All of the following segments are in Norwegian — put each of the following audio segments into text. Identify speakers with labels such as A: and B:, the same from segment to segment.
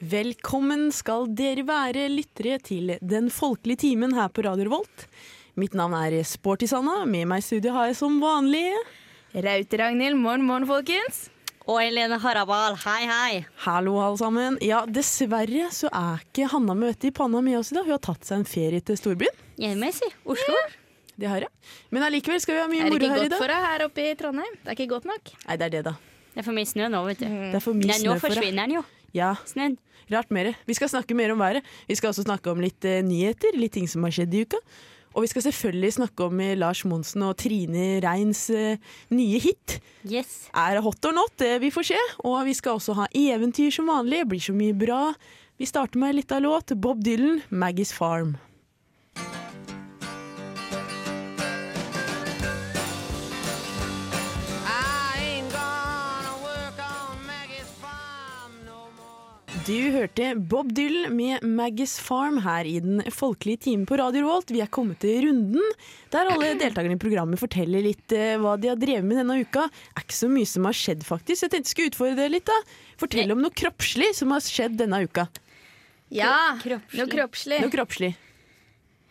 A: Velkommen skal dere være lyttere til Den folkelige timen her på Radio Revolt. Mitt navn er Sporty Sanna. Med meg i studio har jeg som vanlig
B: Raute-Ragnhild, morgen, morgen, folkens.
C: Og Helene Harabal, hei, hei.
A: Hallo, alle sammen. Ja, dessverre så er ikke Hanna Møte i panna med oss i dag. Hun har tatt seg en ferie til storbyen.
C: Hjemme, si. Oslo.
A: Det har jeg. Men allikevel skal vi ha mye
B: Er det
A: moro
B: ikke
A: her i
B: godt
A: dag.
B: for deg her oppe i Trondheim? Det er ikke godt nok.
A: Nei, det er det, da.
C: Det er for mye snø nå, vet du.
A: Det er for mye
C: Nei, nå
A: snø for deg.
C: forsvinner den jo.
A: Ja,
C: Snøen.
A: rart mer. Vi skal snakke mer om været. Vi skal også snakke om litt eh, nyheter, litt ting som har skjedd i uka. Og vi skal selvfølgelig snakke om eh, Lars Monsen og Trine Reins eh, nye hit.
C: Yes.
A: Er det hot or not? Det vi får se. Og vi skal også ha eventyr som vanlig. Det blir så mye bra. Vi starter med litt av låt. Bob Dylan, 'Maggie's Farm'. Du hørte Bob Dylan med Maggie's Farm her i den folkelige timen på Radio Revolt. Vi er kommet til runden der alle deltakerne i programmet forteller litt eh, hva de har drevet med denne uka. Er ikke så mye som har skjedd, faktisk. Jeg tenkte jeg skulle utfordre dere litt. da. Fortell om noe kroppslig som har skjedd denne uka.
B: Ja,
C: kroppslig.
B: noe kroppslig.
A: Noe kroppslig.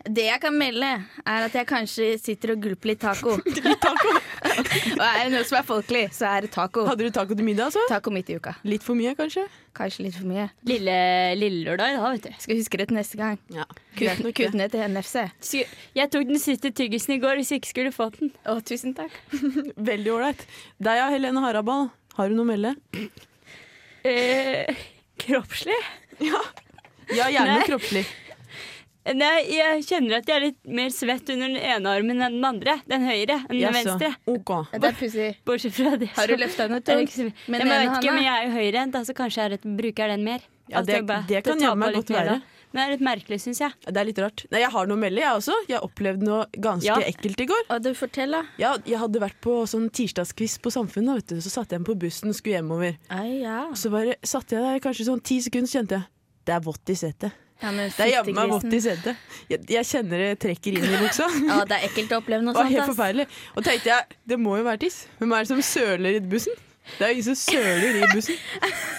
B: Det jeg kan melde, er at jeg kanskje sitter og gulper litt taco.
A: Litt taco.
B: og er det noe som er folkelig, så er det taco.
A: Hadde du taco til middag, altså?
B: Taco midt i uka.
A: Litt for mye, kanskje?
B: Kanskje litt for mye.
C: Lille, lille lørdag, da, vet du.
B: Skal huske det til neste gang.
A: Ja. Greit nok,
B: Kutt
A: det.
B: ned til NFC.
C: Sku- Jeg tok den siste tyggisen i går hvis jeg ikke skulle fått den.
B: Å, tusen takk.
A: Veldig ålreit. Deg ja, Helene Harabal. Har du noe å melde?
C: Eh, kroppslig?
A: Ja. Ja, gjerne
C: Nei.
A: noe kroppslig.
C: Nei, jeg kjenner at jeg er litt mer svett under den ene armen enn den andre. Den høyre enn den
A: Jaså.
C: venstre.
A: OK.
B: Det er pussig.
C: Bortsett fra det.
B: Har du
C: så
B: løfta noe
C: er det
B: tungt?
C: ikke så mye.
B: Med
C: Ja, men jeg
B: den
C: vet ikke,
B: ene handa?
C: men jeg er jo høyrehendt, så altså kanskje jeg er rett, bruker den mer.
A: Ja, det-
C: Altså, bare-
A: det kan
C: tar
A: jammen
C: på litt
A: godt
C: mer, da.
A: være.
C: Men det er litt merkelig, syns jeg.
A: Det er litt rart. Nei, jeg har noe å melde, jeg også. Jeg opplevde noe ganske
C: Ja.
A: ekkelt i går.
B: Å, du fortell, da.
A: Ja, jeg hadde vært på sånn tirsdagskviss på Samfunnet, vet du. Så satte jeg meg på bussen, skulle hjemover.
B: Ai, ja.
A: Så bare satt jeg der kanskje sånn ti sekunder, så kjente jeg det er vått i setet.
B: ja, men
A: Det er jammen meg vått i
B: fittegrisen.
A: setet. Jeg, jeg kjenner det trekker inn i buksa.
B: Ja, det er ekkelt å oppleve noe
A: Det var
B: sånt.
A: helt
B: ass.
A: forferdelig. Og tenkte jeg, det må jo være tiss. Hvem er det som søler i bussen? Det er jo ingen som søler i bussen.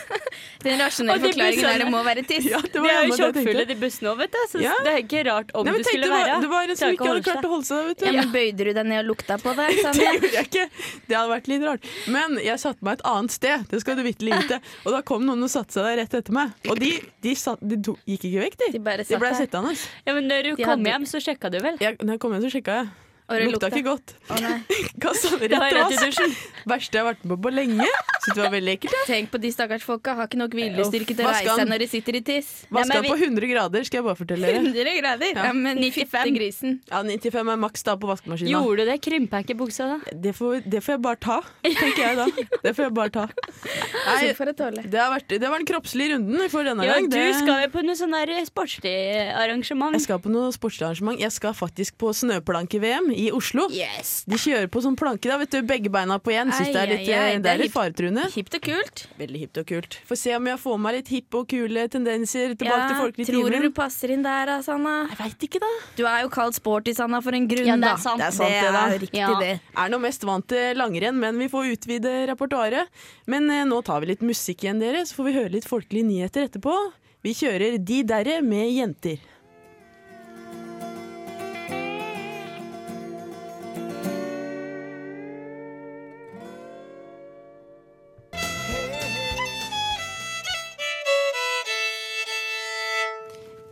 B: Den
C: Og
B: rasjonelle
C: de blir
B: forklaringen
C: sånn-
B: er det må være tiss.
A: Ja, det
C: De
A: var
C: er jo
A: jammen det jeg
C: sjokkfulle, de
A: tenkte.
C: bussene òg, vet du. Så
A: Ja.
C: det er ikke rart om
A: Nei, men
C: du
A: tenk,
C: skulle
A: det var,
C: være
A: det var en som
C: Klarer
A: ikke hadde
C: holde
A: klart å holde seg, vet du.
B: Ja, men Bøyde du deg ned og lukta på det?
A: Det
B: Sandra?
A: gjorde jeg ikke. Det hadde vært litt rart. Men jeg satte meg et annet sted, det skal du vitterlig vite. Og da kom noen og satte seg der rett etter meg. Og de, de, satt, de to, gikk ikke vekk, de.
B: De bare
A: de
B: satt
A: ble
B: der.
A: sittende. altså.
C: Ja, men når du
B: De
C: kom
B: hadde-
C: hjem, så sjekka du vel?
A: Jeg, når jeg kom hjem, så sjekka jeg.
B: Og det
A: lukta
B: lukta.
A: ikke godt.
B: Å nei.
A: Kassa rett
C: Det var
A: til
C: rett i
A: oss.
C: dusjen.
A: Verste jeg har vært med på på lenge. Syns det var veldig ekkelt. jeg.
B: Tenk på de stakkars folka. Har ikke nok viljestyrke til å
A: Hva skal
B: reise seg
A: han-
B: når de sitter i tiss.
A: Vaska
C: men
A: på 100 grader, skal jeg bare fortelle dere.
B: 100 grader. Ja, men 95. grisen.
A: Ja, 95 er maks da på vaskemaskina.
C: Gjorde du det? Krympa ikke buksa da?
A: Det får, det får jeg bare ta, tenker jeg da. Det får jeg bare ta. Nei,
B: Så får jeg tåle.
A: det, har vært, det var den kroppslige runden for denne
C: Ja,
A: gang.
C: du
A: Det-
C: skal jo på noe sånn der sportslig arrangement.
A: Jeg skal på noe sportsarrangement. Jeg skal faktisk på snøplanke-VM i Oslo.
C: Yes!
A: De kjører på sånn planke, da, vet du. Begge beina på én. Syns det er
B: Ai,
A: litt,
B: ai, ai,
A: eh,
B: det
A: det
B: er
A: er litt
B: hipt.
A: faretruende.
B: Hipt og kult.
A: Veldig hipt og kult. Får se om jeg får meg litt hippe og kule tendenser tilbake til folkelig
B: tror du
A: timen.
B: du passer inn der, da, Sanna?
A: Jeg veit ikke, da.
B: Du er jo kalt sporty, Sanna, for en grunn,
C: Ja, det er
B: da.
C: sant.
A: Det er sant, det, da.
B: er riktig,
C: Ja.
B: det.
A: Er nå mest vant til langrenn, men vi får utvide repertoaret. Men eh, nå tar vi litt musikk igjen, dere, så får vi høre litt folkelige nyheter etterpå. Vi kjører De derre med jenter.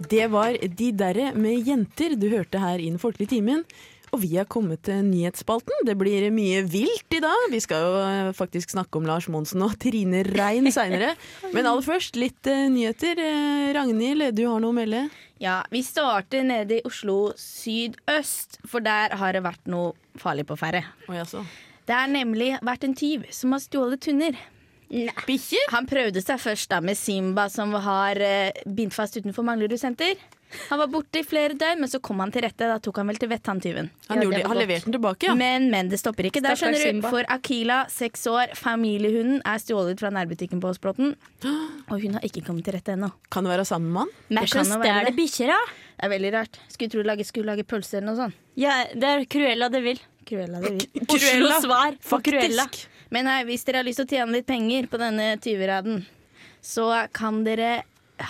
A: Det var De derre med jenter du hørte her i Den folkelige timen. Og vi har kommet til nyhetsspalten. Det blir mye vilt i dag. Vi skal jo eh, faktisk snakke om Lars Monsen og Trine Rein seinere. Men aller først litt eh, nyheter. Eh, Ragnhild, du har noe å melde?
B: Ja, vi starter nede i Oslo sydøst, for der har det vært noe farlig på ferde.
A: Å jaså.
B: Det er nemlig vært en tyv som har stjålet hunder.
A: Bikkjer?
B: Han prøvde seg først da med Simba, som har eh, bindt fast utenfor Manglerud senter. Han var borte i flere døgn, men så kom han til rette. Da tok han vel til vettet, han tyven.
A: Han,
C: Ja, det
A: gjorde det
C: var
A: han
C: godt.
A: leverte den tilbake, ja.
B: Men, men det stopper ikke der,
C: Stakkars
B: skjønner du.
C: Simba.
B: For Akila, seks år, familiehunden, er stjålet fra nærbutikken på Åsbråten. Og hun har ikke kommet til rette ennå.
A: Kan det være sammen med han?
B: Det
C: Mersen
B: kan jo være
C: stjeler
B: det.
C: bikkjer, da.
B: Det er veldig rart. Skulle tro du lage, skulle lage pølser eller noe sånt.
C: Ja, det er Cruella det vil.
B: Cruella det vil.
C: Oslo
A: Cruella.
C: svar for
A: Faktisk.
C: Cruella.
B: Men nei, hvis dere har lyst til å tjene litt penger på denne tyveraden, så kan dere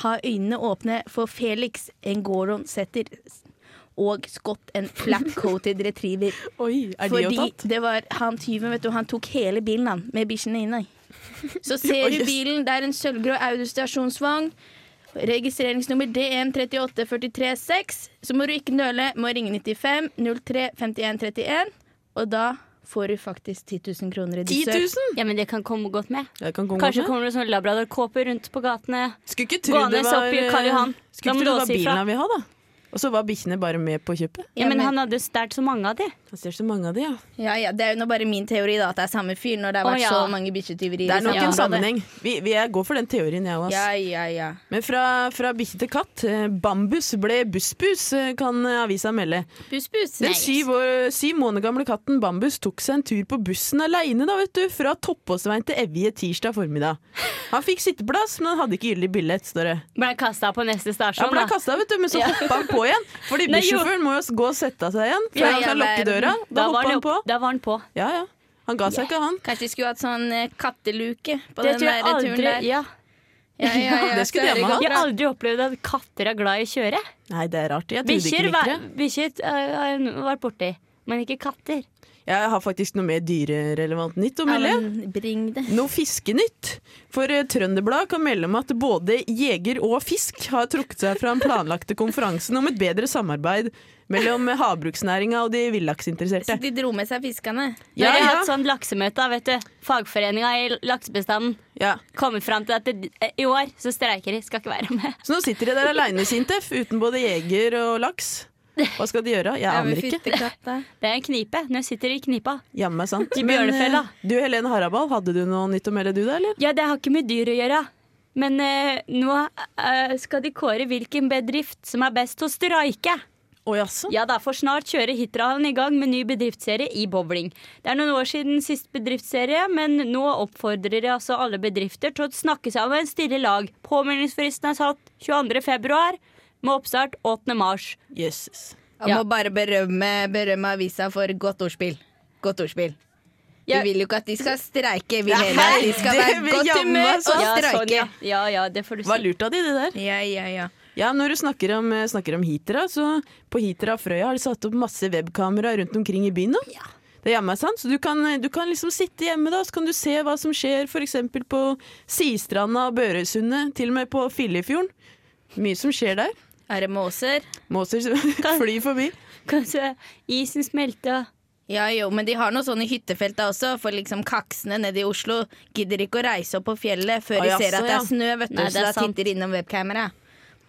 B: ha øynene åpne for Felix Ngoron Setter og Scott en flat-coated retriever.
A: Oi, er de jo
B: Fordi
A: tatt?
B: det var han tyven, vet du, han tok hele bilen han, med bikkjene inni. Så ser
A: Oi,
B: du
A: jøss.
B: bilen, det er en sølvgrå Audi stasjonsvogn. Registreringsnummer D13843436. Så må du ikke nøle, må ringe 95 03 51 31. Og da får du faktisk 10 000 kroner i
A: 10
B: dusør.
A: 000?
C: Ja, men det kan komme godt med.
A: Det kan komme
C: Kanskje
A: godt med.
C: kommer det sånn labradorkåper rundt på gatene.
A: Skulle ikke tro
C: Gående
A: det var, eh,
C: opp i Karl Johan. Da
A: Skulle
C: må
A: ikke
C: du
A: tro det var
C: også
A: bilen
C: ifra.
A: han ville ha, da. Og så var bikkjene bare med på kjøpet.
C: Ja, men han hadde stjålet så mange av de.
A: Han ser så mange av de, ja.
B: Ja, ja, Det er jo nå bare min teori da, at det er samme fyr når det har
C: Å,
B: vært
C: ja.
B: så mange bikkjetyverier.
A: Det er
B: i
A: nok en
B: samme
C: sånn-
B: område.
A: sammenheng. Vi, vi, jeg går for den teorien, jeg òg.
B: Ja, ja, ja.
A: Men fra, fra bikkje til katt. eh, Bambus ble bussbus, eh, kan eh, avisa melde.
B: Buss, buss.
A: Den syv, år, syv måneder gamle katten Bambus tok seg en tur på bussen aleine, da, vet du. Fra Toppåsveien til Evje tirsdag formiddag. Han fikk sitteplass, men han hadde ikke gyldig billett, står det.
C: Ble kasta på neste
A: Han
C: stasjon,
A: ble
C: da.
A: kasta, vet du, men så hoppa han på igjen. Fordi
C: Nei, jo.
A: bussjåføren må jo gå og sette seg igjen før
B: Ja,
A: han
B: ja,
A: kan lukke
B: verden.
A: døra. Da
C: var
A: hoppa
C: det
A: han på.
C: opp- Da var han på.
A: Ja, ja. Han ga seg ikke, han.
B: Kanskje de skulle hatt sånn eh, katteluke på
C: Det
B: den
C: tror jeg
B: der turen
C: aldri
B: der.
C: ja.
B: Ja, ja, ja,
A: Det skulle de ha
B: så er
A: med
B: godt
C: Jeg har
B: bra.
C: aldri opplevd at katter er glad i å kjøre.
A: Nei, det er rart. Jeg trodde ikke
C: Bikkjer
A: de
C: var-
A: likte det.
C: bikkjer, eh, har jeg vært borti, men ikke katter.
A: Jeg har faktisk noe mer dyrerelevant nytt å
B: Ja,
A: melde.
B: men bring det.
A: Noe fiskenytt. For eh, Trønderbladet kan melde om at både jeger og fisk har trukket seg fra den planlagte konferansen om et bedre samarbeid mellom eh, havbruksnæringa og de
B: Så
A: villaksinteresserte.
B: de dro med seg fiskene.
C: Når jeg
A: Ja,
C: har
A: ja,
C: hatt sånn laksemøte, vet du. Fagforeninga i laksebestanden
A: ja.
C: kommer fram til at det, eh, i år så streiker de, skal ikke være med.
A: Så nå sitter de der aleine, Sintef, uten både jeger og laks. Hva skal de gjøre? Jeg
B: Ja, men
A: aner ikke.
B: fyttekatta.
C: Det er en knipe. Nå sitter de i knipa.
A: Jammen meg sant.
C: I
A: Men, eh,
C: bjørnefella.
A: Du Helene Harabal, hadde du noe nytt å melde du, da, eller?
C: Ja, det har ikke med dyr å gjøre. Men eh, nå eh, skal de kåre hvilken bedrift som er best til å streike.
A: Å jaså?
C: Ja da, for snart kjører Hitrahallen i gang med ny bedriftsserie i bowling. Det er noen år siden sist bedriftsserie, men nå oppfordrer de altså alle bedrifter til å snakke sammen, stille lag. Påmeldingsfristen er satt 22. februar, med oppstart 8. mars.
A: Jesus.
B: Jeg må bare berømme, berømme avisa for godt ordspill. Godt ordspill.
C: Ja.
B: Vi vil jo ikke at de skal streike, vi
A: Ja,
B: heller. at De skal
A: det
B: være
A: vil
B: godt
A: jammen
B: humør og
A: meg sant.
B: streike.
C: sånn, ja. ja ja, det får du
A: Var
C: si.
A: lurt av de, det der.
B: Ja, ja, ja.
A: Ja, Når du snakker om, eh, snakker om Hitra, så på Hitra og Frøya har de satt opp masse webkamera rundt omkring i byen. nå. Det er jammen meg sant, så du kan, du kan liksom sitte hjemme da, så kan du se hva som skjer f.eks. på Sistranda og Børøysundet, til og med på Filefjorden. Mye som skjer der.
B: Er det måser?
A: Måser som flyr forbi.
C: Kanskje isen smelter.
B: Ja jo, men de har noe sånn i hyttefelt da også, for liksom kaksene nede i Oslo gidder ikke å reise opp på fjellet før
A: Å,
B: de
A: jaså,
B: ser at det
A: ja.
B: er snø, vet du,
C: Nei, det
B: så
C: er
B: da
C: sant.
B: titter innom webkamera.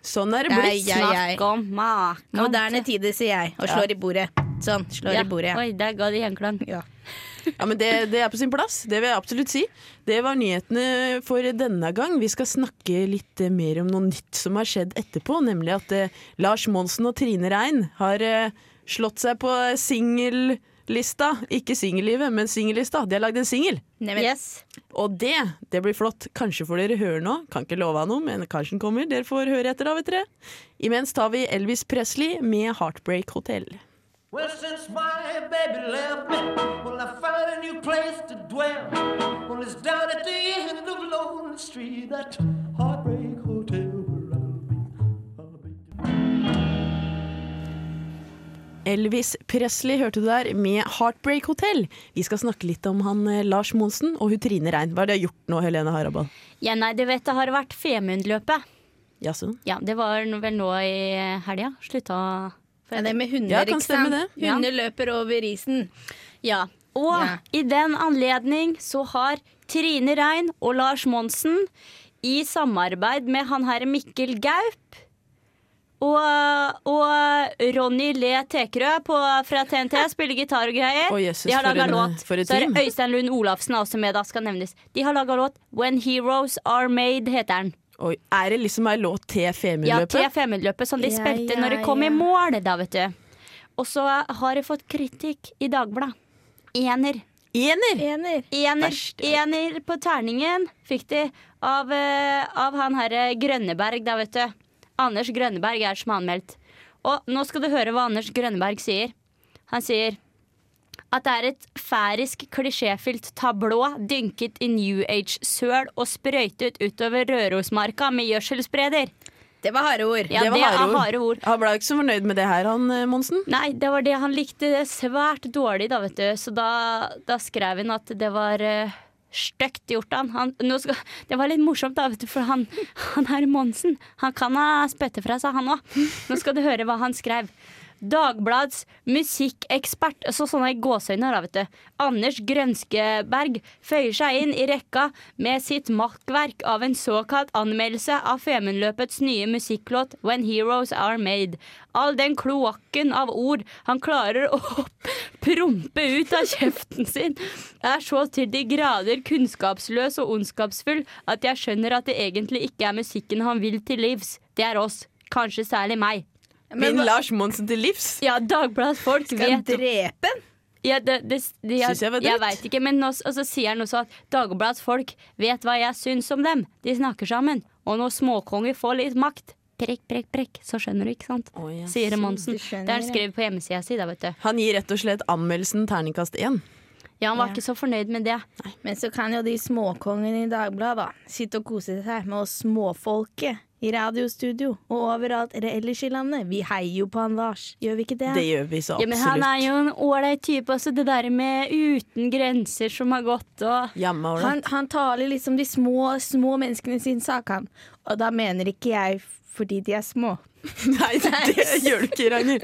A: Sånn er det
B: Nei,
A: blitt.
B: Ja, ja.
C: Snakk om maken.
B: Moderne tider, sier jeg, og slår i bordet. Sånn, slår
C: Ja.
B: i bordet. Ja.
C: Oi, der ga de gjenklang.
B: Ja.
A: Ja, men det, det er på sin plass, det vil jeg absolutt si. Det var nyhetene for denne gang. Vi skal snakke litt eh, mer om noe nytt som har skjedd etterpå, nemlig at eh, Lars Monsen og Trine Rein har eh, slått seg på singellista. Ikke singellivet, men singellista. De har lagd en singel.
B: Nei, men-
C: Yes.
A: Og det, det blir flott. Kanskje får dere høre nå. Kan ikke love noe, men kanskje den kommer. Dere får høre etter, da, vet dere. Imens tar vi Elvis Presley med Heartbreak Hotel.
D: Well, since my baby left me, well, I found a new place to dwell. Well, it's down at the end of Lonely Street, that heartbreak hotel where I'll be. I'll be.
A: Elvis Presley hørte du der med Heartbreak Hotel. Vi skal snakke litt om han eh, Lars Monsen og hun Trine Rein. Hva er det jeg har gjort nå, Helene Harabal?
C: Ja, nei, det vet jeg har vært Femundløpet.
A: Jaså?
C: Ja, det var nå- vel nå i helga. Slutta
B: Ja, det er med hunder,
A: Ja, kan
B: ikke
A: stemme
B: sant?
A: det.
C: Ja.
B: Hunder løper over isen.
C: Ja. Og
B: Ja.
C: i den anledning så har Trine Rein og Lars Monsen i samarbeid med han herre Mikkel Gaup og, og Ronny Le Tekerø på, fra TNT spiller gitar og greier.
A: Å, Jesus,
C: De har
A: for
C: laga
A: en-
C: låt.
A: for et
C: Så er det
A: team.
C: Øystein Lund Olafsen er også med, da skal nevnes. De har laga låt 'When Heroes Are Made', heter den.
A: Oi, er det liksom ei låt til
C: Ja, til
A: Femundløpet?
C: Femundløpet som de
B: Ja,
C: spilte
B: ja,
C: når de kom
B: ja.
C: i mål, da, vet du. Og så har jeg fått kritikk i Dagbladet. Ener.
A: Ener!
B: Ener.
C: Ener,
A: Verst.
C: ener på terningen fikk de av, eh, av han herre Grønneberg, da, vet du. Anders Grønneberg er som anmeldt. Og nå skal du høre hva Anders Grønneberg sier. Han sier at det er et færisk, klisjéfylt tablå dynket i New Age-søl og sprøytet utover Rørosmarka med gjødselspreder.
B: Det var harde ord.
C: Ja,
A: Det
C: det,
A: var harde
C: er
A: ord.
C: harde ord.
A: Han ble jo ikke så fornøyd med det her, han eh, Monsen.
C: Nei, det var det han likte svært dårlig, da, vet du. Så da, da skrev han at det var uh, stygt gjort av han. han nå skal, det var litt morsomt, da, vet du, for han, han her Monsen, han kan ha spyttet fra seg, han òg. Nå skal du høre hva han skrev. Dagblads musikkekspert, så sånne gåseøyne, da, vet du. Anders Grønskeberg føyer seg inn i rekka med sitt makkverk av en såkalt anmeldelse av Femundløpets nye musikklåt 'When Heroes Are Made'. All den kloakken av ord han klarer å prompe ut av kjeften sin, er så til de grader kunnskapsløs og ondskapsfull at jeg skjønner at det egentlig ikke er musikken han vil til livs. Det er oss. Kanskje særlig meg.
A: Min Lars Monsen til livs.
C: Ja, Dagbladets folk
B: Skal
C: vet
B: drepe den?
C: ja, det, det, det, jeg,
A: Synes jeg var
C: jeg,
A: dritt.
C: vet ikke, men nå, og så sier han også at Dagbladets folk vet hva jeg syns om dem. De snakker sammen. Og når småkonger får litt makt, prekk, prekk, prekk, så skjønner du, ikke sant?
A: Å, ja.
C: Sier Monsen.
B: Mm, du
C: Det
B: skjønner,
C: har han
B: ja.
C: skrevet på hjemmesida si, da, vet du.
A: Han gir rett og slett anmeldelsen terningkast én.
C: Ja, han var
B: Ja.
C: ikke så fornøyd med det.
B: Men så kan jo de småkongene i Dagbladet da, sitte og kose seg med oss småfolket i radiostudio og overalt re- ellers i landet. Vi heier jo på han Lars, gjør vi ikke det?
A: Det gjør vi så
C: Ja, men han er
A: absolutt.
C: jo en ålreit type, altså. Det der med uten grenser som har gått og
A: Jamma ålreit.
B: han, han taler liksom de små, små menneskene sin sak, han. Og da mener ikke jeg f- fordi de er små.
A: Nei, det gjør du ikke, Ragnhild.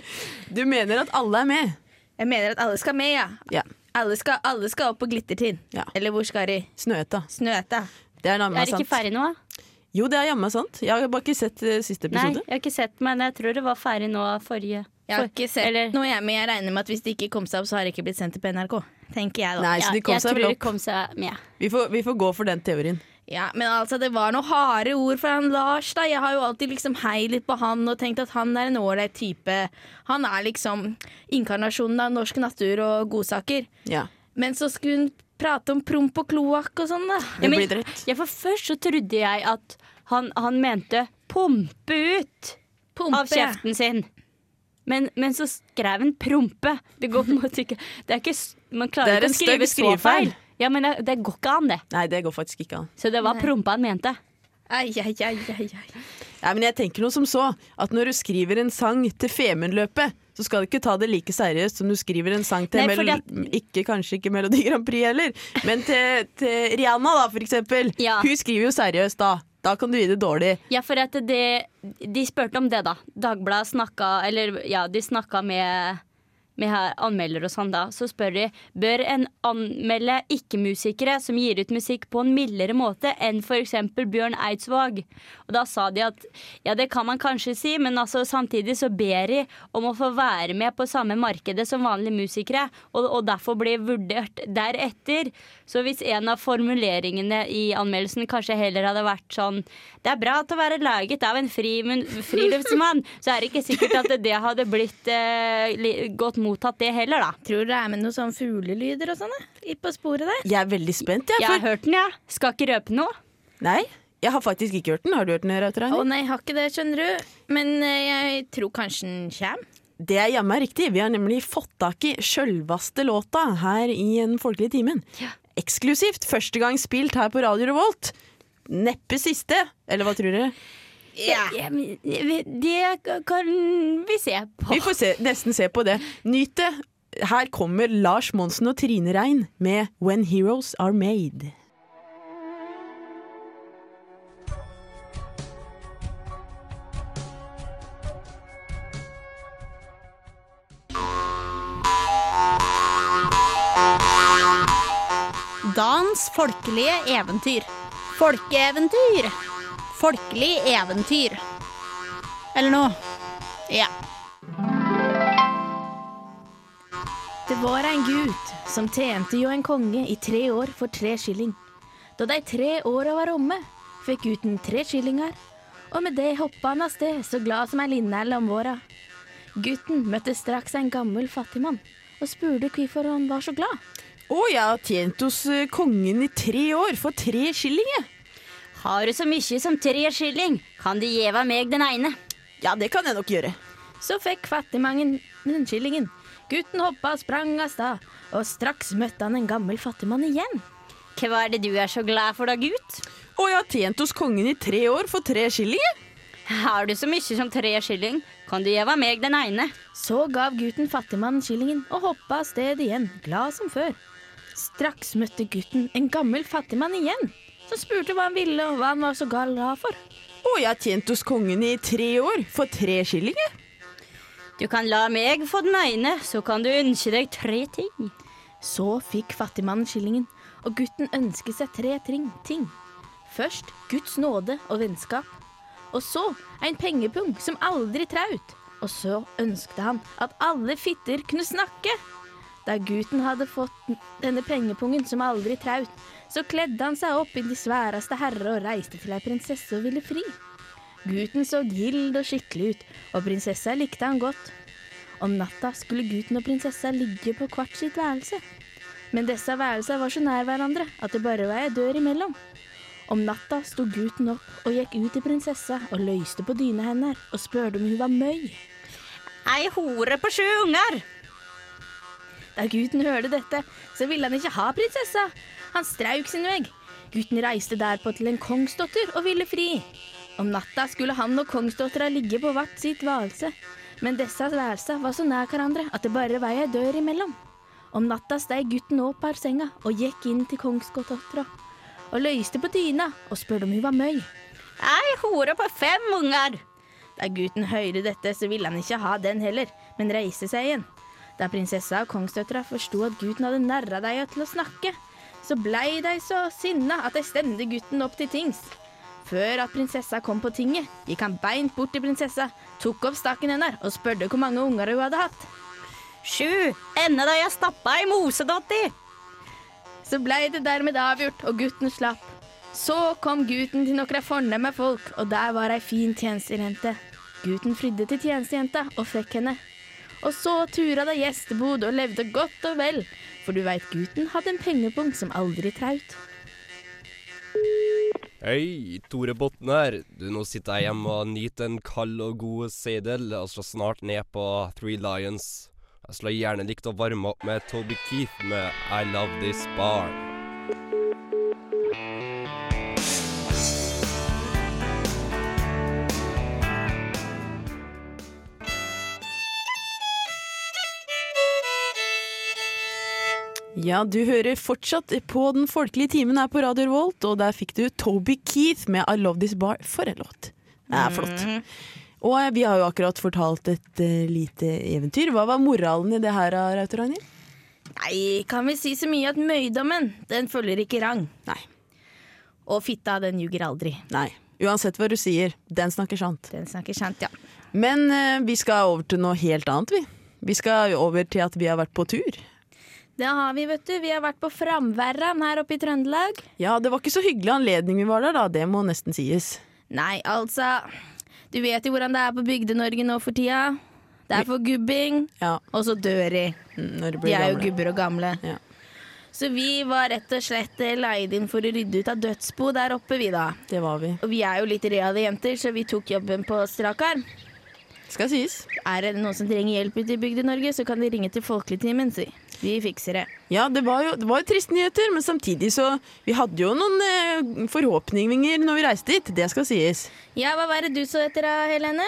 A: Du mener at alle er med.
B: Jeg mener at alle skal med, ja.
A: Ja.
B: Alle skal, alle skal opp på Glittertind.
A: Ja.
B: Eller hvor skal de?
A: Snøhetta.
B: Snøhetta.
A: Det er jamma
C: Er det
A: sant.
C: ikke ferdig nå? da?
A: Jo, det er jamma sant. Jeg har bare ikke sett eh, siste
C: Nei,
A: episode.
C: jeg har ikke sett, men jeg tror det var ferdig nå forrige.
B: Jeg har
C: for-
B: ikke sett
C: eller-
B: noe, jeg, men jeg regner med at hvis de ikke kom seg opp, så har de ikke blitt sendt på NRK. Tenker jeg da.
A: Nei,
C: Ja,
A: så de kom
C: jeg
A: seg
C: tror
A: vel
C: det
A: opp.
C: kom seg med.
A: Vi får, vi får gå for den teorien.
B: Ja, men altså, det var noen harde ord fra han Lars, da. Jeg har jo alltid liksom hei litt på han og tenkt at han er en ålreit type. Han er liksom inkarnasjonen av norsk natur og godsaker.
A: Ja.
B: Men så skulle hun prate om promp og kloakk og sånn, da.
A: Det
C: Ja, men-
A: blir dritt.
C: Ja, for først så trodde jeg at han, han mente pumpe ut
B: Pumpe.
C: av kjeften sin. Men, men så skrev han prompe. Det går på en måte ikke Det er ikke s- Man
A: Det
C: klarer
A: er
C: ikke
A: en
C: å skrive så
A: stygg skrivefeil.
C: feil. Ja, men det, det går ikke an, det.
A: Nei, det går faktisk ikke an.
C: Så det var prompe han mente.
B: Ai, ai, ai, ai, ai.
A: Nei, men jeg tenker noe som så, at når du skriver en sang til Femundløpet, så skal du ikke ta det like seriøst som du skriver en sang til
C: Nei,
A: mel
C: fordi at-
A: ikke, Kanskje ikke Melodi Grand Prix heller, men til, til Rihanna, da, for eksempel.
C: Ja.
A: Hun skriver jo seriøst da. Da kan du gi det dårlig.
C: Ja, for at det De spurte om det, da. Dagbladet snakka Eller ja, de snakka med med her anmelder og sånn da, så spør de bør en anmelde ikke-musikere som gir ut musikk på en mildere måte enn f.eks. Bjørn Eidsvåg. Og da sa de at ja, det kan man kanskje si, men altså samtidig så ber de om å få være med på samme markedet som vanlige musikere, og, og derfor bli vurdert deretter. Så hvis en av formuleringene i anmeldelsen kanskje heller hadde vært sånn Det er bra til å være laget av en frimun- friluftsmann, så er det ikke sikkert at det hadde blitt eh, li- godt mottatt, det heller, da.
B: Tror du det er med noen sånne fuglelyder og sånn, da? I- På sporet der?
A: Jeg er veldig spent, jeg.
C: Jeg har
A: For...
C: hørt den, jeg. Ja. Skal ikke røpe noe.
A: Nei, jeg har faktisk ikke hørt den. Har du hørt den,
B: Å
A: Rauterheim?
B: nei, jeg har ikke det, skjønner du. Men eh, jeg tror kanskje den kommer.
A: Det er jammen riktig. Vi har nemlig fått tak i sjølvaste låta her i Den folkelige timen. Eksklusivt. Første gang spilt her på Radio Revolt. Neppe siste. Eller hva tror dere?
B: Ja.
C: Ja, men Det kan vi se på.
A: Vi får se, nesten se på det. Nyt det. Her kommer Lars Monsen og Trine Rein med 'When Heroes Are Made'.
E: Dans folkelige eventyr. Folkeeventyr. Folkelig eventyr. Eller noe. Ja.
B: Det var en gutt som tjente jo en konge i tre år for tre skilling. Da de tre åra var omme, fikk gutten tre skillinger, og med det hoppa han av sted så glad som ei linnæl om våra. Gutten møtte straks en gammel fattigmann og spurte hvorfor han var så glad.
A: Å, jeg har tjent hos eh, kongen i tre år for tre skilling, jeg.
C: Har du så mye som tre skilling, kan du gjeva meg den ene.
A: Ja, det kan jeg nok gjøre.
B: Så fikk fattigmannen den skillingen. Gutten hoppa og sprang av stad, og straks møtte han en gammel fattigmann igjen.
C: Hva er det du er så glad for da, gutt?
A: Og jeg har tjent hos kongen i tre år for tre skillinger.
C: Har du så mye som tre skilling, kan du gjeve meg den ene.
B: Så gav gutten fattigmannen skillingen og hoppa av sted igjen, glad som før. Straks møtte gutten en gammel fattigmann igjen, som spurte hva han ville og hva han var så gal glad for.
A: Og jeg har tjent hos kongen i tre år for tre skillinger.
C: Du kan la meg få den ene, så kan du ønske deg tre ting.
B: Så fikk fattigmannen skillingen, og gutten ønsket seg tre tring- ting. Først Guds nåde og vennskap, og så en pengepung som aldri traut. Og så ønsket han at alle fitter kunne snakke. Da gutten hadde fått denne pengepungen som aldri traut, så kledde han seg opp i de sværeste herre og reiste til ei prinsesse og ville fri. Gutten så gild og skikkelig ut, og prinsessa likte han godt. Om natta skulle gutten og prinsessa ligge på hvert sitt værelse. Men disse værelsene var så nær hverandre at det bare var ei dør imellom. Om natta sto gutten opp og gikk ut til prinsessa og løyste på dyna hennes og spurte om hun var møy.
C: Ei hore på sju unger.
B: Da gutten hørte dette, så ville han ikke ha prinsessa. Han strauk sin vei. Gutten reiste derpå til en kongsdatter og ville fri. Om natta skulle han og kongsdattera ligge på hvert sitt værelse. Men disse værelsene var så nær hverandre at det bare var ei dør imellom. Om natta steg gutten opp av senga og gikk inn til kongsdattera. Og løyste på dyna og spurte om hun var møy.
C: Ei hore på fem unger.
B: Da gutten hørte dette, så ville han ikke ha den heller, men reiste seg igjen. Da prinsessa og kongsdøtra forsto at gutten hadde narra dem til å snakke, så blei de så sinna at de stemte gutten opp til tings. Før at prinsessa kom på tinget, gikk han beint bort til prinsessa, tok opp staken hennes og spurte hvor mange unger hun hadde hatt.
C: Sju. Enda da jeg stappa ei mosedotti.
B: Så blei det dermed avgjort, og gutten slapp. Så kom gutten til noen fornemme folk, og der var ei fin tjenestejente. Gutten flydde til tjenestejenta og fikk henne. Og så tura det gjestebod og levde godt og vel, for du veit gutten hadde en pengepung som aldri traut.
F: Hei, Tore Botten her. Du, nå sitter jeg hjemme og nyter en kald og god sedel, og slår snart ned på Three Lions. Jeg skulle gjerne likt å varme opp med Toby Keith med I Love This Bar.
A: Ja, du hører fortsatt på den folkelige timen her på Radio Revolt, og der fikk du Toby Keith med I Love This Bar. For en låt. Det er flott. Og eh, vi har jo akkurat fortalt et eh, lite eventyr. Hva var moralen i det her, Rauter Ragnhild?
B: Nei, kan vi si så mye at møydommen, den følger ikke rang.
A: Nei.
B: Og fitta, den ljuger aldri.
A: Nei. Uansett hva du sier, den snakker sant.
B: Den snakker sant, ja.
A: Men eh, vi skal over til noe helt annet, vi. Vi skal over til at vi har vært på tur.
B: Det har vi, vet du. Vi har vært på Framverran her oppe i Trøndelag.
A: Ja, det var ikke så hyggelig anledning vi var der, da. Det må nesten sies.
B: Nei, altså Du vet jo hvordan det er på Bygde-Norge nå for tida. Det er for gubbing,
A: Ja,
B: og så dør de.
A: mm, når det
B: De
A: blir
B: er jo
A: gamle.
B: gubber og gamle.
A: Ja.
B: Så vi var rett og slett eh, leid inn for å rydde ut av dødsbo der oppe, vi da.
A: Det var vi.
B: Og vi er jo litt reale jenter, så vi tok jobben på strak arm.
A: Skal sies.
B: Er det noen som trenger hjelp ute i Bygde-Norge, så kan de ringe til Folkeligtimen, si. Vi fikser det.
A: Ja, det var, jo, det var jo triste nyheter, men samtidig så Vi hadde jo noen eh, forhåpninger når vi reiste dit, det skal sies.
B: Ja, hva var det du så etter da, Helene?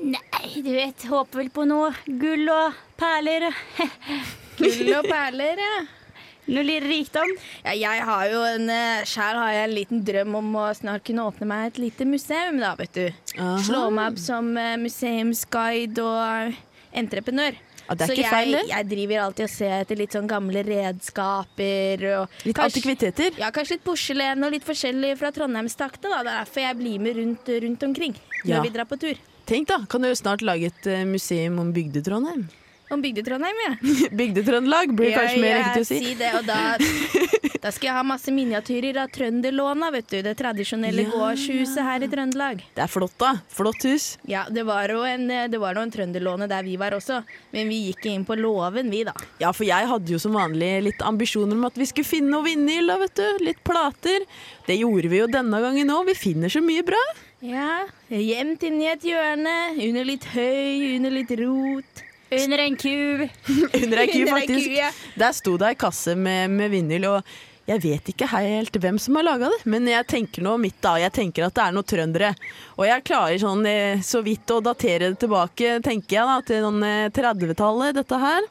C: Nei, du vet, håper vel på noe gull og perler.
B: Gull og perler, ja.
C: Noe litt rikdom.
B: Ja, jeg har jo en eh, Sjæl har jeg en liten drøm om å snart kunne åpne meg et lite museum, da, vet du.
A: Aha.
B: Slå meg opp som eh, museumsguide og entreprenør.
A: Ja, det er
B: så
A: ikke
B: jeg,
A: feil, det.
B: jeg driver alltid og ser etter litt sånn gamle redskaper og
A: Litt antikviteter.
B: Ja, kanskje litt porselen og litt forskjellig fra Trondheimstaktene, da. Det er derfor jeg blir med rundt, rundt omkring når
A: Ja.
B: vi drar på tur.
A: Tenk da, kan du snart lage et eh, museum om Bygde-Trondheim?
B: Om Bygde-Trondheim, ja.
A: Bygde-Trøndelag blir kanskje mer riktig å si.
B: det, og da, da skal jeg ha masse miniatyrer av Trønderlåna, vet du. Det tradisjonelle
A: Ja.
B: gårdshuset her i Trøndelag.
A: Det er flott, da. Flott hus.
B: Ja, det var jo en, det var jo en Trønderlåne der vi var også, men vi gikk inn på låven, vi, da.
A: Ja, for jeg hadde jo som vanlig litt ambisjoner om at vi skulle finne noe vinyl, da, vet du. Litt plater. Det gjorde vi jo denne gangen òg. Vi finner så mye bra.
B: Ja, gjemt inni et hjørne, under litt høy, under litt rot.
C: Under en ku.
A: Under ei ku,
B: Under ei
A: faktisk.
B: ku, ja.
A: Der sto det ei kasse med, med vinyl, og jeg vet ikke helt hvem som har laga det, men jeg tenker nå mitt, da. Jeg tenker at det er noen trøndere. Og jeg klarer sånn eh, så vidt å datere det tilbake, tenker jeg, da, til sånn eh, 30-tallet, dette her.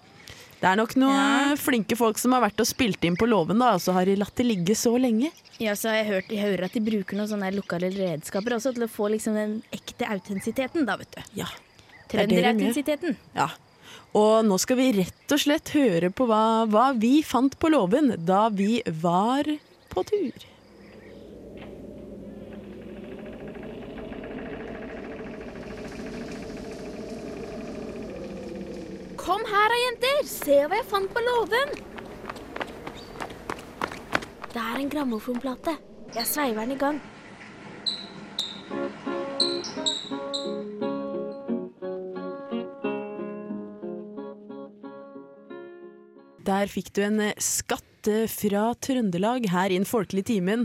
A: Det er nok noen eh, flinke folk som har vært og spilt inn på låven, da, og så har de latt det ligge så lenge.
B: Ja, så har jeg, hørt, jeg hører at de bruker noen sånne her lokale redskaper også, til å få liksom den ekte autentisiteten, da, vet du.
A: Ja. det de gjør.
B: Trønderautentisiteten.
A: ja. Og nå skal vi rett og slett høre på hva, hva vi fant på låven da vi var på tur.
G: Kom her da, jenter. Se hva jeg fant på låven. Det er en grammofonplate. Jeg sveiver den i gang.
A: Der fikk du en eh, skatt eh, fra Trøndelag her innen folkelig timen.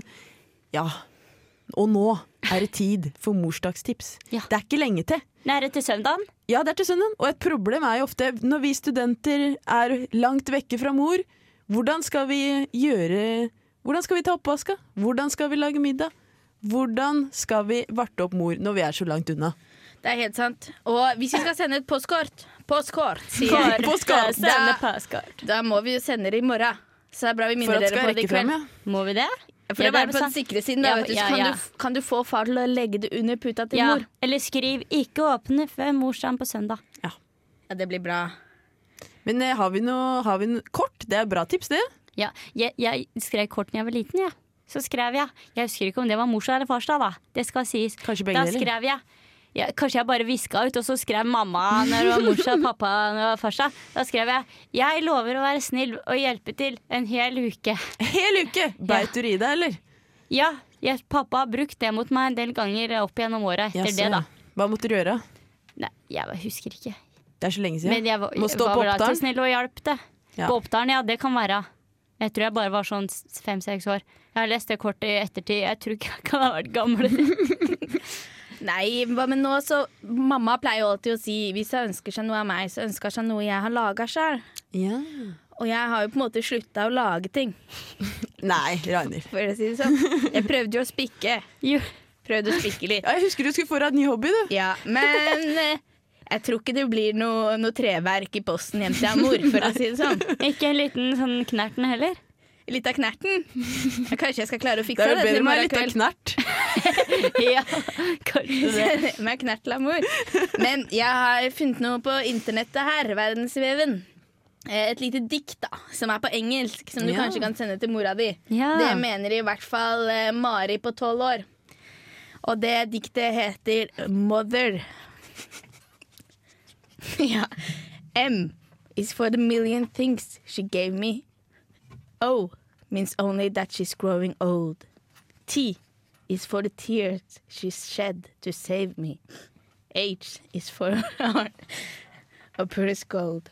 A: Ja, og nå er det tid for morsdagstips.
C: Ja.
A: Det er ikke lenge til.
C: Nære til søndagen.
A: Ja, det er til søndagen, og et problem er jo ofte når vi studenter er langt vekke fra mor, hvordan skal vi gjøre Hvordan skal vi ta oppvaska? Hvordan skal vi lage middag? Hvordan skal vi varte opp mor når vi er så langt unna?
B: Det er helt sant. Og hvis vi skal sende et postkort Postkort, sier jeg.
A: På skala.
C: Sende postkort.
B: Da må vi jo sende det i morgen. Så det er bra vi
A: For
B: minner
A: at
B: dere
A: skal
B: på det i
A: rekke
B: kveld.
A: frem, ja.
C: Må vi det?
B: For
C: Ja,
B: å være
C: det er
B: på den
C: sant.
B: sikre siden, da,
C: Ja,
B: vet du, så
C: ja,
B: kan,
C: ja.
B: Du, kan du få far til å legge det under puta til
C: Ja.
B: mor.
C: Eller skriv 'ikke åpne før morsdagen på søndag'.
B: Ja, det blir bra.
A: Men eh, har vi noe har vi noe kort? Det er bra tips, det.
C: Ja, jeg, jeg skrev kort da jeg var liten, jeg. Så skrev jeg Jeg husker ikke om det var morsdag eller farsdag, da. Det skal sies.
A: Kanskje begge
C: Da
A: deler.
C: skrev jeg ja, Kanskje jeg bare viska ut, og så skrev mamma når det var morsdag, pappa når det var farsdag. Da skrev jeg 'Jeg lover å være snill og hjelpe til en hel uke'.
A: Hel uke! Beit du i deg, eller?
C: Ja, jeg, pappa har brukt det mot meg en del ganger opp gjennom åra etter
A: Jaså,
C: det, da.
A: ja. Hva måtte du gjøre?
C: Nei, jeg husker ikke.
A: Det er så lenge siden.
C: Men jeg var,
A: Må stå
C: var
A: på
C: vel alltid
A: opptaren.
C: snill og hjalp det.
A: Ja.
C: På opptaren, ja, det kan være. Jeg tror jeg bare var sånn s- fem-seks år. Jeg har lest det kortet i ettertid. Jeg tror ikke jeg kan ha vært gammel.
B: Nei, hva- men nå så Mamma pleier jo alltid å si hvis hun ønsker seg noe av meg, så ønsker hun seg noe jeg har laga sjøl.
A: Ja.
B: Og jeg har jo på en måte slutta å lage ting,
A: Nei, Ragnhild.
B: for å si det sånn. Jeg prøvde jo å spikke.
C: Jo.
B: Prøvde å spikke litt.
A: Ja, jeg husker du skulle få deg en ny hobby, du.
B: Ja, men eh, jeg tror ikke det blir noe, noe treverk i posten hjem til mor, for å si det sånn.
C: Ikke en liten sånn knerten heller.
B: Litt av knerten. Ja, Kanskje jeg skal klare å
A: Det
B: fikse
A: er jo
B: det,
A: bedre
B: til
A: med ei
B: morgen
A: lita
B: kveld.
A: knert.
C: Ja, kanskje det.
B: Med knertla mor. Men jeg har funnet noe på internettet her, verdensveven. Eh, Et lite dikt da, som er på engelsk, som du
A: Ja.
B: kanskje kan sende til mora di.
C: Ja.
B: Det mener i hvert fall eh, Mari på tolv år. Og det diktet heter 'Mother'. ja. M is for the million things she gave me. O means only that she's growing old. T is for the tears she shed to save me. H is for her heart of purest gold.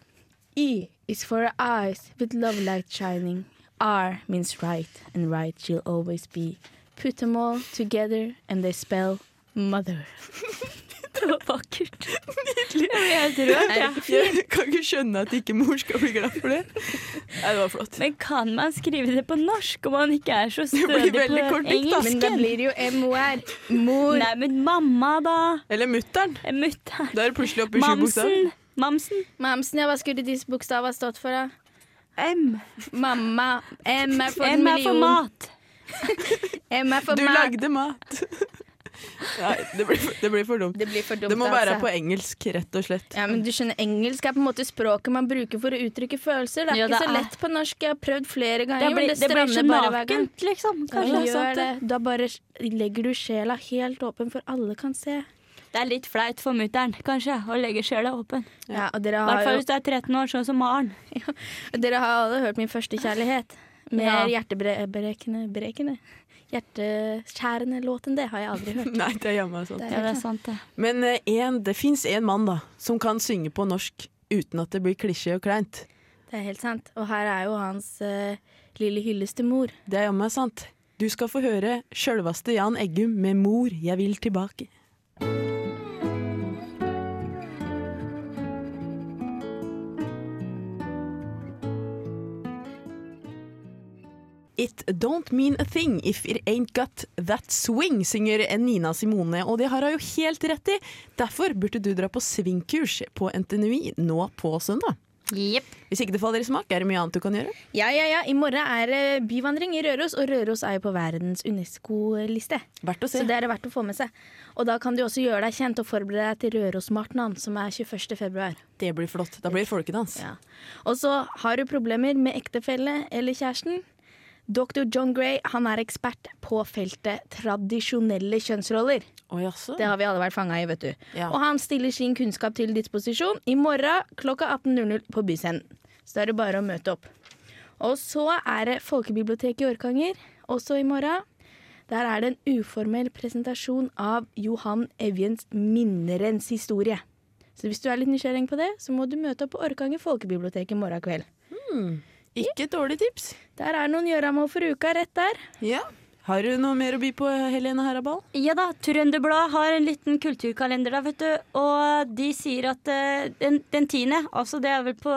B: E is for her eyes with love light shining. R means right, and right she'll always be. Put them all together, and they spell mother.
C: Det var vakkert. Jeg tror jeg traff.
A: Jeg kan ikke skjønne at ikke mor skal bli glad for det. Nei, det var flott.
C: Men kan man skrive det på norsk om man ikke er så
A: blir
C: stødig på
A: veldig kort dikt, da.
B: Men da
C: engelsken?
B: blir det jo MOR. Mor.
C: Nei, men mamma, da.
A: Eller mutter'n.
C: Mutter'n.
A: Da er det plutselig oppe i sju bokstaver.
C: Mamsen. Mamsen.
B: Mamsen, ja, hva skulle disse bokstavene stått for? da?
C: M.
B: Mamma. M er for en
C: M er for
B: million.
C: mat.
B: M er for
A: Du
B: mat.
A: lagde mat. Nei, det blir, for- det blir for dumt.
B: Det blir for dumt.
A: Det må være
B: altså.
A: på engelsk, rett og slett.
B: Ja, men du skjønner, Engelsk er på en måte språket man bruker for å uttrykke følelser. Det er
C: Ja,
B: ikke
C: det
B: så
C: er.
B: lett på norsk. Jeg har prøvd flere
C: Det blir,
B: ganger. men
C: det blir så
B: strander bare hver gang.
C: nakent, liksom.
B: Ja,
C: Kanskje.
B: det
A: sant,
B: gjør det. Da bare legger du sjela helt åpen for alle kan se.
C: Det er litt flaut for mutter'n, kanskje, å legge sjela åpen.
B: Ja, og dere
C: I
B: har
C: hvert fall
B: jo
C: hvis du er 13 år, sånn som Maren.
B: dere har alle hørt min første kjærlighet. Mer
C: Ja.
B: hjertebrekende brekende. Hjerteskjærende låt enn det har jeg aldri hørt.
A: Nei, det er jammen sant.
C: Ja, det er sant, det.
A: Men eh, en, det fins en mann da, som kan synge på norsk uten at det blir klisjé og kleint.
B: Det er helt sant. Og her er jo hans eh, lille hylleste mor.
A: Det er jammen sant. Du skal få høre sjølvaste Jan Eggum med 'Mor, jeg vil tilbake'. Don't Mean A Thing If It Ain't Got That Swing, synger Nina Simone. Og det har hun jo helt rett i. Derfor burde du dra på svingkurs på NTNUI nå på søndag.
C: Jepp.
A: Hvis ikke det faller i smak, er det mye annet du kan gjøre.
B: Ja, ja, ja. I morgen er det byvandring i Røros, og Røros er jo på verdens UNESCO-liste.
A: Verdt å se.
B: Så det er det verdt å få med seg. Og da kan du også gjøre deg kjent og forberede deg til Rørosmartnan, som er 21. februar.
A: Det blir flott. Da blir det folkedans.
B: Ja. Og så har du problemer med ektefelle eller kjæresten. Dr. John Gray han er ekspert på feltet tradisjonelle kjønnsroller.
A: Å, jaså.
B: Det har vi alle vært fanga i, vet du.
A: Ja.
B: Og han stiller sin kunnskap til disposisjon i morgen klokka 18.00 på Byscenen. Så da er det bare å møte opp. Og så er det Folkebiblioteket i Orkanger, også i morgen. Der er det en uformell presentasjon av Johan Evjens minnerens historie. Så hvis du er litt nysgjerrig på det, så må du møte opp på Orkanger folkebibliotek i morgen kveld.
A: Ikke et dårlig tips.
B: Der er noen gjøramål for uka rett der.
A: Ja. Har du noe mer å by på, Helene Herabal?
C: Ja da, Trønderbladet har en liten kulturkalender der, vet du. Og de sier at eh, den, den tiende, altså det er vel på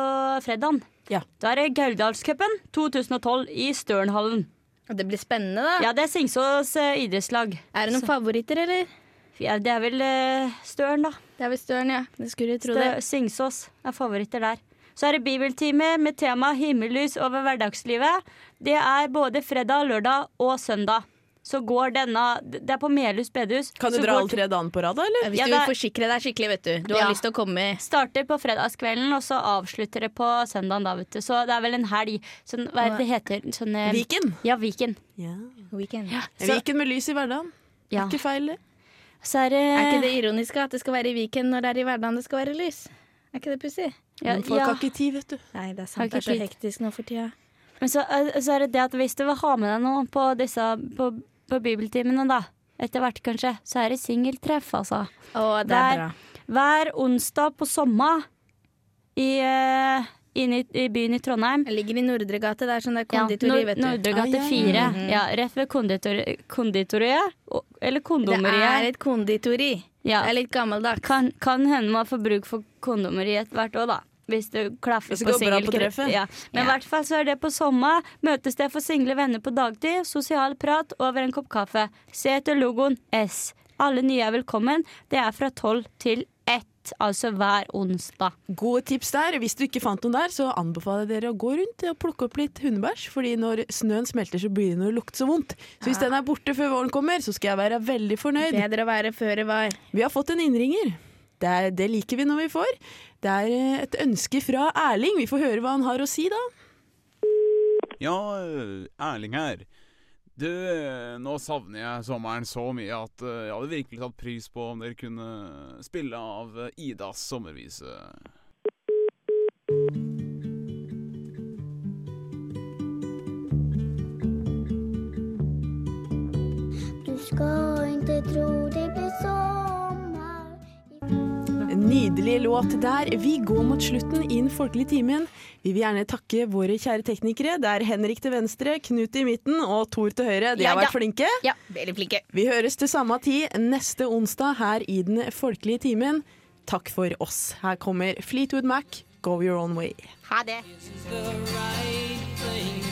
C: fredagen,
A: Ja.
C: da er det Gauldalscupen 2012 i Størenhallen.
B: Og det blir spennende, da.
C: Ja, det er Singsås eh, idrettslag.
B: Er det noen favoritter, eller?
C: Ja, det er vel eh, Støren, da.
B: Det er vel Støren, ja. Det skulle jeg tro det.
C: Stø- Singsås er favoritter der. Så er det bibeltime med tema himmellys over hverdagslivet. Det er både fredag, lørdag og søndag. Så går denne Det er på Melhus bedehus.
A: Kan du
C: Så
A: dra
C: går
A: alle tre dagene på rad, da? eller?
B: Hvis
C: Ja,
B: du vil
C: det-
B: forsikre deg skikkelig, vet du. Du har
C: Ja.
B: lyst til å komme
C: Starter på fredagskvelden, og så avslutter det på søndagen. Da, vet du. Så det er vel en helg. Sånn, hva er det det heter? Sånn, eh,
A: Viken.
C: Ja, Viken.
B: weekend.
C: Så,
A: Viken med lys i hverdagen.
C: ja.
A: Ikke feil, det.
C: så er det
B: Er ikke det ironiske at det skal være i Viken når det er i hverdagen det skal være lys? Er ikke det pussig?
C: ja,
A: Men folk
C: ja.
A: har ikke tid, vet du.
B: Nei, det
C: Har
B: er sant. Det
C: ikke
B: er så
C: tid.
B: hektisk nå for tida.
C: Men så, eh, så er det det at hvis du vil ha med deg noen på, disse, på, på bibeltimene, da, etter hvert kanskje, så er det singeltreff, altså.
B: Å, det
C: Der.
B: er bra.
C: Hver onsdag på sommer i, eh, inne i, i byen i Trondheim.
B: Jeg ligger i Nordre gate. Det er sånn der
C: Ja,
B: konditori, vet du.
C: Nordre gate
A: Ah, ja, ja.
C: 4. Ja, rett ved konditori- konditoriet. og- Eller
B: Det er
C: kondomeriet.
B: et konditori.
C: Ja.
B: Det er litt gammeldags.
C: Kan, kan hende man får bruk for kondomeriet hvert år, da. Hvis du klaffer
A: Hvis det
C: på
A: går bra på
C: singelkre-
A: treffet.
C: Ja. Men i hvert fall så er det på sommer. Møtested for single venner på dagtid. Sosial prat over en kopp kaffe. Se etter logoen S. Alle nye er velkommen. Det er fra tolv til ett, altså hver onsdag.
A: Gode tips der. Hvis du ikke fant noen der, så anbefaler jeg dere å gå rundt og plukke opp litt hundebæsj. Fordi når snøen smelter, så begynner det å lukte så vondt. Så hvis den er borte før våren kommer, så skal jeg være veldig fornøyd.
B: Bedre å være før det var.
A: Vi har fått en innringer. Det, er, det liker vi når vi får. Det er eh, et ønske fra Erling. Vi får høre hva han har å si da.
H: Ja, Erling her. Du, nå savner jeg sommeren så mye at eh, jeg hadde virkelig tatt pris på om dere kunne spille av eh, Idas sommervise.
G: Du ska inte tro det blir sommar
A: En Nydelig låt der. Vi går mot slutten i den folkelige timen. Vi vil gjerne takke våre kjære teknikere. Det er Henrik til venstre, Knut i midten og Tor til høyre. De
B: Ja,
A: har vært flinke.
B: Ja, veldig flinke.
A: Vi høres til samme tid neste onsdag her i den folkelige timen. Takk for oss. Her kommer Fleetwood Mac, Go Your Own Way.
E: Ha det.
D: the right thing